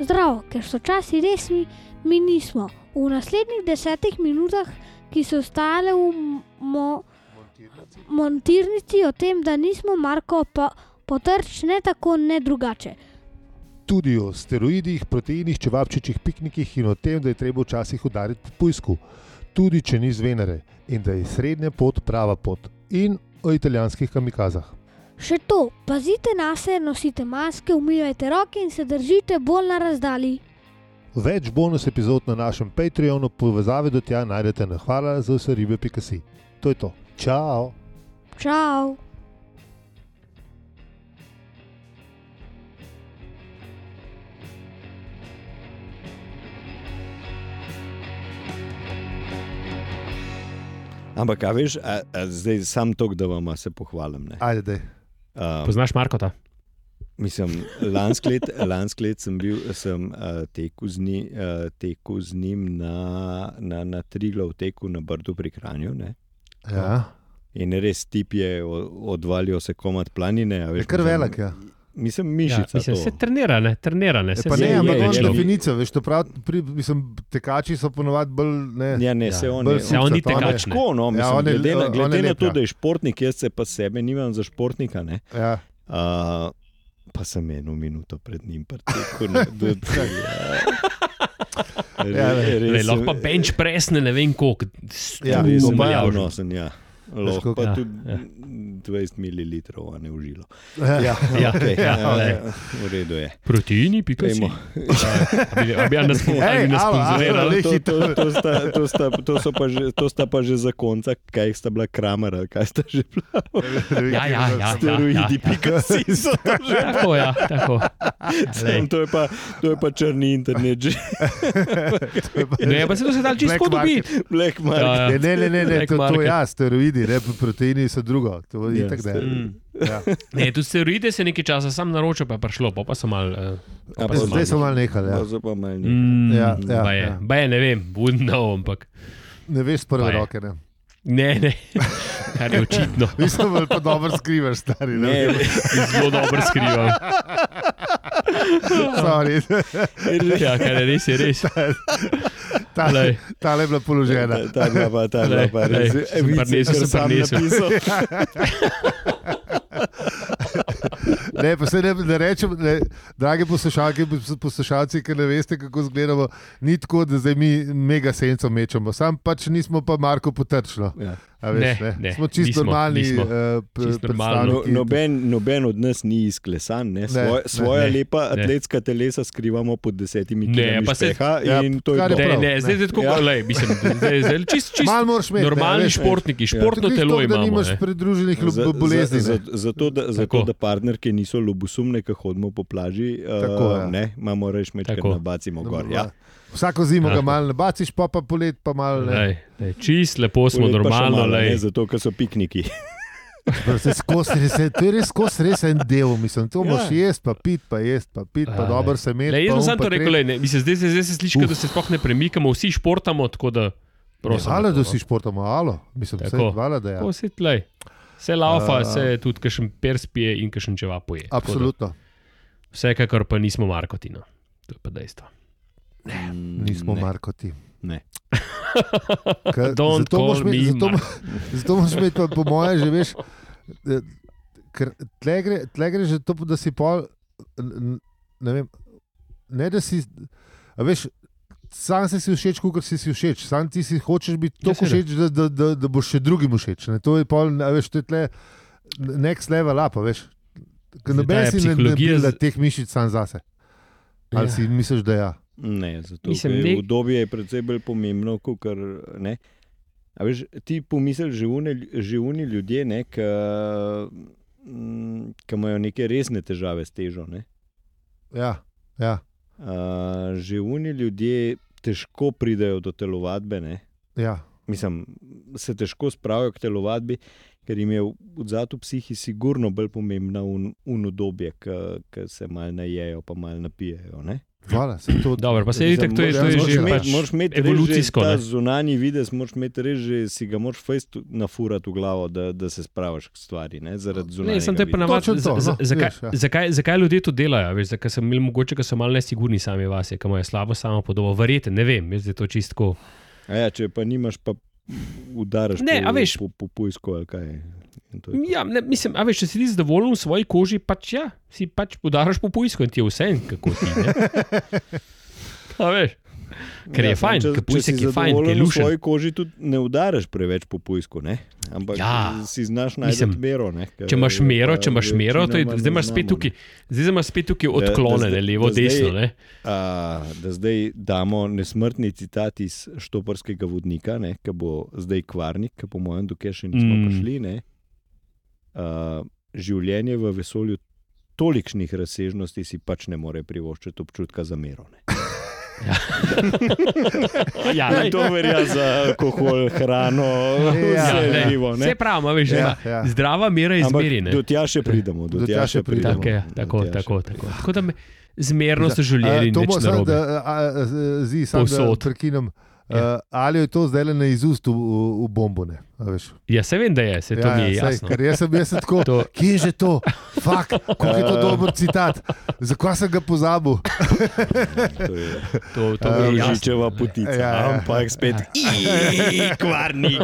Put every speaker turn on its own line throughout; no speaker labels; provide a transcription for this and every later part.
Zdravo, ker sočasji res mi, mi nismo. V naslednjih desetih minutah, ki so ostale v mo, montirnici, o tem, da nismo Marko pa, Potrč, ne tako, ne drugače.
Tudi o steroidih, proteinih, čevapčičih, piknikih in o tem, da je treba včasih udariti po pujsku, tudi če ni zvenere in da je srednja pot prava pot, in o italijanskih kamikazah.
Še to, pazite na se, nosite maske, umivajte roke in se držite bolj na razdalji.
Več bonus epizod na našem Patreonu, povezave do tja najdete na hvala za vse ribe, pika si. To je to. Čau!
Čau!
Ampak, a veš, a, a zdaj sam to, da vam se pohvalim. ne.
Ajde, daj.
A,
Poznaš Markota?
Mislim, lansko let, lansko let sem bil, sem uh, tekel, z ni, uh, tekel z njim na, na, na Triglav, tekel na Brdu pri Kranju. Ne?
Ja.
In res tip je, o- odvalil se komat planine. a Veš,
Je kar
mislim,
velik, ja.
Mislim,
Ja,
mišica.
mislim, se
to.
trenira, ne, trenira, ne.
E,
Se
pa
je,
ne,
je,
ampak
je,
imaš
je.
definico, veš, to prav, pri, mislim, tekači so ponovadi bolj, ne.
Ja, ne, se
Ja.
on
Bolj
je.
se
Ja, on ni
to ne.
tekač. ne.
Tako, no, mislim, ja,
on je-
glede na,
on je
glede na
lep,
to,
ja.
da je športnik, jaz se pa sebe nimam za športnika. Ne?
Ja.
Uh, pa sem eno minuto pred njim, tako da je
Ja, lej.
Le, lahko pa bench presne, ne vem koliko.
Ja,
res
oba,
je
ja.
odnosen. Ja. Lahko
kako-
pa
Ja,
tudi 20 ml, a ne užilo.
Ja.
Ja,
Okay,
ja,
ja,
le.
ja, v redu je.
Proteini, pika si.
Pejmo.
Ja, bi nas
Ej, alo, alo,
sponzoriral.
lej,
To,
hitro.
to, to, sta, to, sta, to, so pa že, to sta pa že za konca, kaj sta bila kramer, ali kaj sta že bila.
Ja, ja, ja.
Steroidi,
ja.
pika si so to že.
Tako, ja, tako. Lej.
Sam, to, je pa, to je pa črni internet, že
No, ja, pa se to sedaj čisto
Black
dobi.
black market.
Ja,
Ne, ne, ne, ne, ne
Black
to, to
market.
ja, steroidi, ne, proteini so drugo. To je
Ja,
itak ne.
steroidi.
Mm.
Ja.
Ne, tu steroide se nekaj časa sam naročil, pa je prišlo, pa, pa sem mal. Uh,
Ja,
pa
pa
sem
Zdaj
mal.
so malo nehali. Ja.
Pa so No, pa malo nekaj.
Mm,
Ja, ja,
baje,
ja.
baje, ne vem, budno, ampak.
Ne veš z
Pa
prve
je.
roke. Ne.
Ne, ne, kar je očitno.
Mislim, da pa dobro skrivaš, stari.
Ne,
Ne,
Zelo dobro skrivam.
Sorry,
Ja, kar je res, je res.
ta,
Glej.
ta je bila položena.
ta- ta je bila pa, ta je bila
Lej,
pa
lej,
res.
sem
Evice,
prinesel,
kar
sem
sam
prinesel.
napisal. Ja.
Ne, pa se ne, ne rečem, ne, drage poslušalke, pos- poslušalci, ki ne veste, kako izgledamo, ni tako, da zdaj mi mega senco mečemo, sam pač nismo pa Marko potrčno.
Ja.
A Veš,
Ne,
ne,
ne,
Smo čisto
nismo,
normalni,
nismo.
eh, p-
Čisto normalno.
No,
predstavniki.
noben, noben od nas ni izklesan, ne? Svoje,
ne,
ne, svoja
ne,
ne, lepa
ne.
ne. atletska telesa skrivamo pod desetimi
Ne,
kilogrami
pa se-
špeha
Ja,
in to je
kar je
to.
Ne,
prav,
ne, zdaj je tako,
Ja.
ja. lej, mislim, zdaj je zdaj čist, čist.
Malo moraš imeti, ne,
Normalni
veš, ja.
športniki, športno
Glih
telo
toliko, da
imamo.
nimaš
ne.
pridruženih
Za- za-
lub- bolezni.
za-
ne.
Zato, da, zato,
Tako.
da partnerke niso ljubosumne, ko hodimo po plaži,
Tako,
uh,
ja.
ne, imamo reč, da
Tako.
nabacimo gor. Ja.
Vsako zimo ga
Tako.
malo nabaciš, pa pa polet pa malo ne.
Lej, lej, čist lepo
Torej
smo,
Polet pa še
normalno,
malo, ne,
lej.
zato, ker so pikniki.
Pa se skozi res je- To je res skozi res en del, mislim. To
Ja.
moš jesti, pa pit, pa jesti, pa pit, pa
Ja,
dobro
ne.
se
Le,
meti.
jaz
pa
sem
um,
samo
pa
to rekel,
tret.
lej, ne, mislim, zdaj se, zdaj se sliši, kot da se sploh ne premikamo, vsi športamo, tako da prosim.
Hvala,
no.
da si športamo, alo. Mislim, vse,
Tako.
hvala, da je.
Tako se tlej. Se laufa,
A.
uh, se tudi kakšen pers pije in kakšen čeva poje. Tako da
Absolutno.
Vsekakor pa nismo Markotina. To je pa dejstvo.
Nismo
ne.
Marko ti.
Ne.
Ka-
Don't
zato moraš
call me
imeti- zato mo-
Marko.
Zato moraš imeti, pa po moje, že veš, eh, ker tle gre, tle gre že to, da si pol, n- n- ne vem, ne da si, a veš, sam si si všeč, kot si si všeč, sam ti si hočeš biti
Ja,
tako
seveda.
všeč, da, da, da, da boš še drugim všeč. Ne? To je pol, a veš, to je tle, next level up, a veš. Ker
Zdaj, ta
Noben
je
si ne
psihologija
da
z-
teh mišic sam zase. Ali
Ja.
si misliš, da ja?
Ne, zato
Mislim,
Mislim,
nek-
ne... obdobje je predvsej bolj pomembno, kot kar ne. A veš, ti pomisliš, že une lju- že oni ljudje, ne, ki mm, ki imajo neke resne težave s težo. Ne.
Ja, ja,
A, že oni ljudje težko pridajo do telovadbe, ne.
ja.
Mislim, se težko spravijo k telovadbi, ker jim je v zadju psihi sigurno bolj pomembna un- uno un obdobje, ki se mal najejo, pa mal napijejo. Ne.
Hvala, se to
Dobro, pa se itak to je, to je že pač evolucijsko. ne.
Zunani vides, moraš imeti res, že si ga moraš fejst nafurati v glavo, da, da se spraviš k stvari. Ne, zaradi
Ne, sem
zunanjega
te
videza.
prenamal,
Točno to, no,
zakaj,
veš, ja.
zakaj, zakaj ljudje to delajo? Veš, zakaj sem, mogoče ker so malo nesigurni sami vase, ki imajo slabo samo podobo. Verjete, ne vem, jaz zdaj to čistko.
A Ja, če pa nimaš, pa udaraš
Ne,
po,
a veš-
po, po pujsku ali kaj. In to je to.
Ja, ne, mislim, a veš, če si ti zadovoljen v svoji koži, pač ja, si pač podaraš po pujsku in ti je vse, kako ti je. A veš, ker je
Ja, samo
fajn, ker pujsek je fajn, ker je
zadovoljen v
lušen.
svoji koži tudi ne udaraš preveč po pujsku, ne? ampak
Ja.
ja. si znaš najti
Mislim,
mero. Ne? Ker
Če imaš mero,
pa
če imaš mero, to je,
večinoma
zdaj imaš
ne
spet
znamo,
tukaj, zdaj imaš spet tukaj
da
odklonjene,
zdaj-
levo,
da zdaj-
desno. Ne?
A, da zdaj damo nesmrtni citat iz Štoparskega vodnika, ne, ki bo zdaj kvarnik, ki po mojem dokaj še nismo
Mm.
mm. prišli. Ne, a, življenje v vesolju tolikšnih razsežnosti si pač ne more privoščiti občutka za mero. Ne.
Ja,
Ja,
lej.
to verja za alkohol, hrano,
Ja,
vse
lej.
živo.
Vse
ne.
prav, a veš,
Ja,
ja,
ja.
ja. zdrava mera
Ampak
izmeri. ne.
Do tja še pridemo. Do tja še pridemo.
Tako, je, tako,
Do tja še
tako, tako. tako da me, zmerno so življenje in
Ja. Eh, to
nič
bo
ne
samo,
robe.
da a, a, z- zdi, samo da
Povsod.
prekinem.
Ja.
Ja. Ali je to zdaj le na izust v, v, v bombone? a veš?
Ja, se vem, da je, se to mi je
ja, saj,
jasno.
ker jaz sem, jaz sem tako,
To- Eh.
kje je že to? Fak, kako je to dober citat? Zakaj sem ga pozabil?
To je
To, to mi je jasno.
Božičeva potica.
Ja, ja.
Ampak spet kvarnik.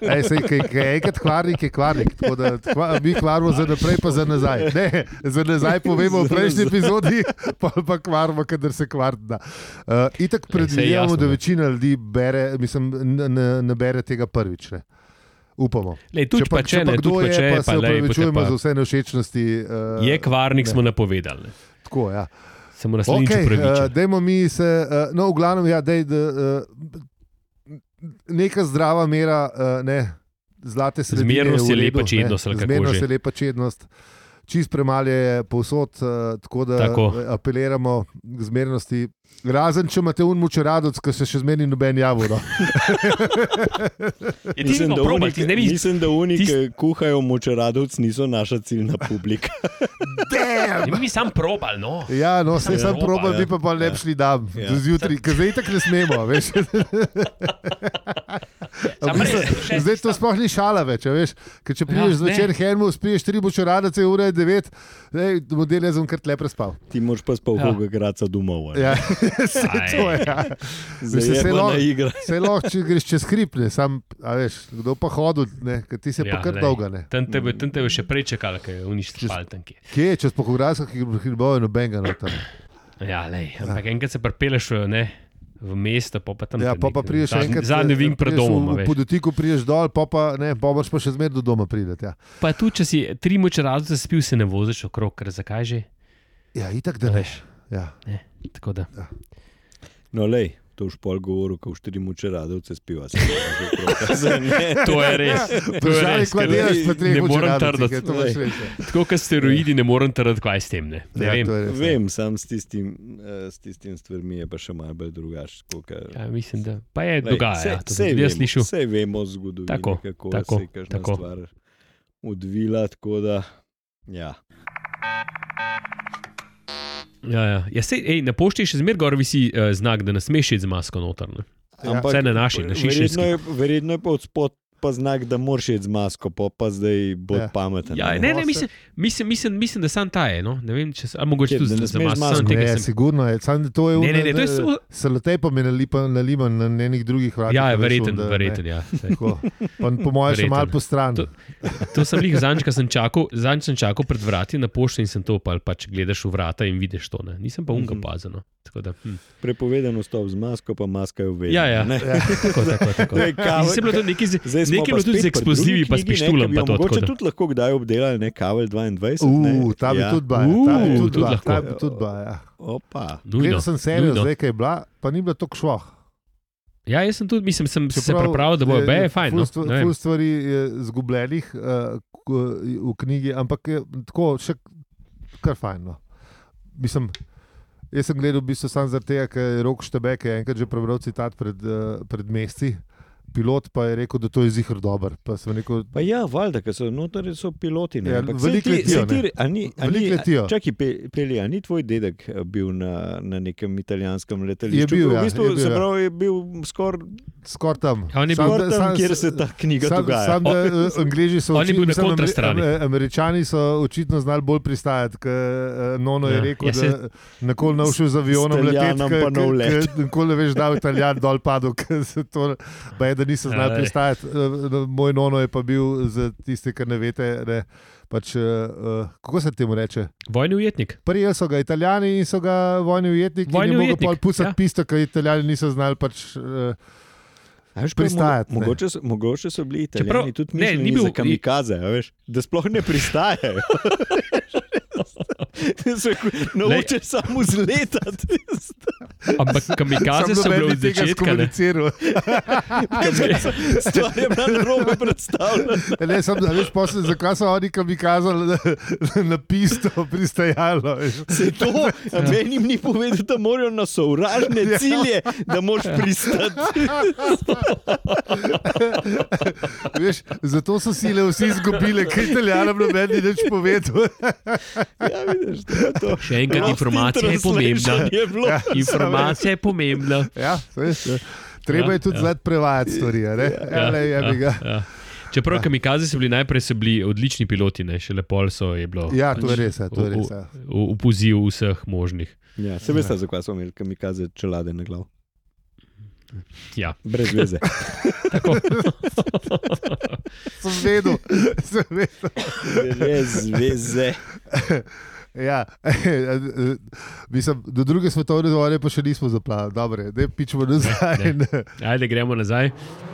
Ej, sej, kaj, kaj, enkrat kvarnik je kvarnik, tako da kva, mi kvarimo za naprej, pa za nazaj. Ne, za nazaj povemo v prejšnji epizodi, pa, pa kvarimo, kadar se kvarda. Uh, itak predvidevamo,
jasno,
da
ne.
večina ljudi bere, mislim, ne, ne, ne bere tega prvič. Ne. Upamo.
Lej, tudi pa če ne,
kdo
tudi pa
je,
če
pa
je,
se
pa lej, potem
upravičujemo
pa
za vse nevšečnosti. Uh,
je kvarnik,
ne.
smo napovedali. ne.
Tako, ja.
Samo naslednjič okay,
Okay, uh,
pravičen.
dajmo mi se, uh, no, v glavnem, ja, dej, da, uh, neka zdrava mera, uh, ne, zlate sredine. v
Zmernost je
redu,
lepa čednost,
ne.
ali kako
Zmernost
že.
je lepa čednost. Čist premalo je povsod, uh, tako da
Tako.
eh, apeliramo k zmernosti. Razen, če imate unmu če radoc, ki se še zmeni noben javor. No.
Je E, ti vidno, probaj, ti ne vidiš.
mislim, da oni,
Tist-
ki kuhajo močeradovc, niso naša ciljna publika.
Damn!
Mi sam probal, no.
Ja, no, vse
Ja,
sem
opa,
probal,
ja.
vi pa pa ne bi šli tam,
Ja.
do zjutraj, ker zdaj tako ne smemo. Veš.
Samo
Mislim,
res, še-
Zdaj to sploh ni šala več. a Veš, ker če prideš
Ja,
ja, zvečer
ne.
hemu, spiješ tri bočoradice, ura je devet, ej, model je zunaj lepo spal.
Ti moraš pa spal,
Ja.
koga graca domov.
Ja, se to je. Ja. mislim, no- se
Zelo
lahko-
na igra.
Se lahko, če greš čez hribne, sam, a veš, kdo pa hodil, ne, ker ti se ja, pa kar
lej.
dolga ne.
Tam te bo- tam te bo še prej čakal, ker uništi spaltanke.
Kje je, čez pokogradskih hribov je nobenega noter.
Ja, lej, ampak enkrat se prepeleš v, ne, v mesto, pa, pa tam
Ja,
te
pa, pa
nekaj-
prideš
zadnji-
enkrat. eh,
Zadnji vink pred
prideš v-
domom. a
v
veš.
Podotiku prideš dol, pa pa ne, pa moraš pa še zmeraj do doma prideti. Ja.
Pa tudi, če si tri moče razlice spil, se ne voziš okrog, ker zakaj že?
Ja, itak da veš. Ja.
Ne, tako da.
No, lej. To už pol govoru, ko v štiri močeradovce spiva. se že otroka. Zdaj ne.
To je res. To je
Vprašanje,
res,
kva
ker
delaš po treh
ne morem
učeradicah,
trditi.
je to veš res.
Tako kot steroidi, ne morem trditi, kaj je s tem. Ne, ne
Ja,
ja, vem.
to je res, ja.
Vem, sam s tistim, eh, s tistim stvarmi je pa še malo bolj drugače. tako ke-
Ja, mislim, da pa je
Lej,
dogaja.
saj-
ja, to
saj
sem jaz
vemo,
slišal.
Vse vemo zgodovino,
Tako,
kako
tako,
se je kakšna
tako.
stvar odvila. tako Da, ja.
Ja, ja. Ja, sej, ej, na pošti je še zmeraj gor visi uh, znak, da nas smeš iti z masko noter. Ne?
Ja.
Vse na naši, na šišenski.
verjetno, je, verjetno je pa od spod pa znak, da moraš iti z masko, pa, pa zdaj bo
Ja.
ja. pameten.
Ja, ne, ne, mislim, mislim, mislim, mislim da sam ta je. No? Ne vem, če se, a mogoče
Kje,
tudi
da ne
za- za
smeš
masko.
masko?
samo tega
Ne,
sem-
sigurno je. Sam to je
Ne,
ono,
ne, ne, to je so-
Salotej pa mi nalipa, nalima na enih drugih vratih.
Ja,
a
je
veš,
verjeten,
onda, ne.
verjeten, ja. saj.
Tako. Pa Po mojem še
Verjetno.
malo po stran.
To- To sem jih zadnjič, ko sem čakal, zadnjič sem čakal pred vrati na pošti in sem to opal, pač gledaš v vrata in vidiš to. Ne? Nisem pa unga
Mhm.
pazen. no. Tako da, hm.
Prepovedano stop z masko, pa maska je uvedena.
Ja, ja.
ne.
Tako, tako, tako.
Zdaj, kavelj-
Zdaj je bilo tudi nekaj z,
Zdaj smo
nekaj
pa
bilo tudi
spet
z
pri
eksplozivi,
drugi
pa s
knjigi, ne, ki
pištulom.
bi
pa
jo
to, tako
Mogoče
da-
tudi lahko kdaj obdelali, ne kavelj 22.
Uh, ta bi
ja.
tudi bila. ja, ta bi tudi
Uh,
bila,
tudi
ta
lahko.
bi tudi bila, ja.
Opa.
Nujno,
Gledal sem serijo,
nujno.
zdaj kaj je bila, pa ni bila tako švah.
Ja, jaz sem tudi, mislim, sem se pripravil, da bo
je-
be, je fajn.
Ful,
No?
stvar,
Ne vem.
ful stvari je zgubljenih eh, k- v knjigi, ampak je tako še kar fajn. No. Mislim, jaz sem gledal v bistvu samo zaradi tega, ker je rok Štebek je enkrat že prebral citat pred, eh, pred meseci. pilot pa je rekel, da to je zihar dober. Pa sem rekel,
Pa ja, valjda, ker so noter so piloti. ne,
Ja,
ampak saj
veliko
ti-
letijo,
saj ti
ne.
re- a ni- a
Veliko
ni- a-
letijo.
Čakaj, Pe- Peli, a ni tvoj dedek eh, bil na, na nekem italijanskem letališču?
bil,
v
ja,
bistvu,
je bil,
se
ja.
pravi, je bil skoraj
skoraj tam.
Ja, on je bil
skor tam, kjer se ta knjiga
Sam,
dogaja.
sam, da, eh, Angliji so
On je
očitno-
bil
mislim,
na
Ameri-
kontrastrani.
Am- Američani so očitno znali bolj pristajati. K, Nono je
Ja.
rekel,
Ja,
ja,
se-
da nikoli ne všel z avionom,
s Italijanom
leteti,
pa nov let.
Nikoli ne veš, da je Italijan dol padel, ker se to baje, da niso znali
Aj.
pristajati. Eh, Moj Nono je pa bil za tiste, ki ne veste, ne, pač, eh, eh, kako se temu reče.
Vojni ujetnik.
Prijeli so ga Italijani in so ga vojni ujetniki,
Vojni
in je mogel
ujetnik,
pol pucati
ja.
ja. pisto, ker Italijani niso znali pač. eh,
A veš, pa je mo-
pristajati, ne.
Mogoče, so- mogoče so bili italijani
Čeprav-
Čeprav, tudi
ne,
mišljeni
ni bil-
za kamikaze, a veš, da sploh ne pristajajo. Se Nauče samo zletati.
Ampak kamikaze so bile od začetka. ne.
komuniciral.
Stvar je bila narobe predstavljena.
E Ne, sem, veš, posle, zakaj so oni kamikazali na, na pisto pristajalo? veš.
Se to, ja. meni ni povedal, da morajo na sovražne cilje, da moraš pristati.
Veš, zato so sile vsi izgubile, ker italijanom noben ni več povedal.
Ja, vidiš, to je to.
Še enkrat,
Lost in
informacija je pomembna.
translation Je bilo. Ja.
Informacija je pomembna.
Ja, veš, ja. Treba je tudi
Ja, ja.
znati prevajati stvari. a ne? Ja, le, jebi ga. Ah.
ja. Čeprav kamikaze so bili najprej so bili odlični piloti, ne? šele pol so je bilo.
ja, to
pač
je res. ja, To je
v-
res ja.
v- v- Upoziv vseh možnih.
Ja, se veste, zakaj smo imeli kamikaze čelade na glav.
Ja.
Brez veze.
Sem vedel. Sem vedel.
Brez veze.
Ja, mislim, do druge svetovne vojne pa še nismo zaplavili, dobro, je, da pičemo nazaj.
Ajde, gremo nazaj.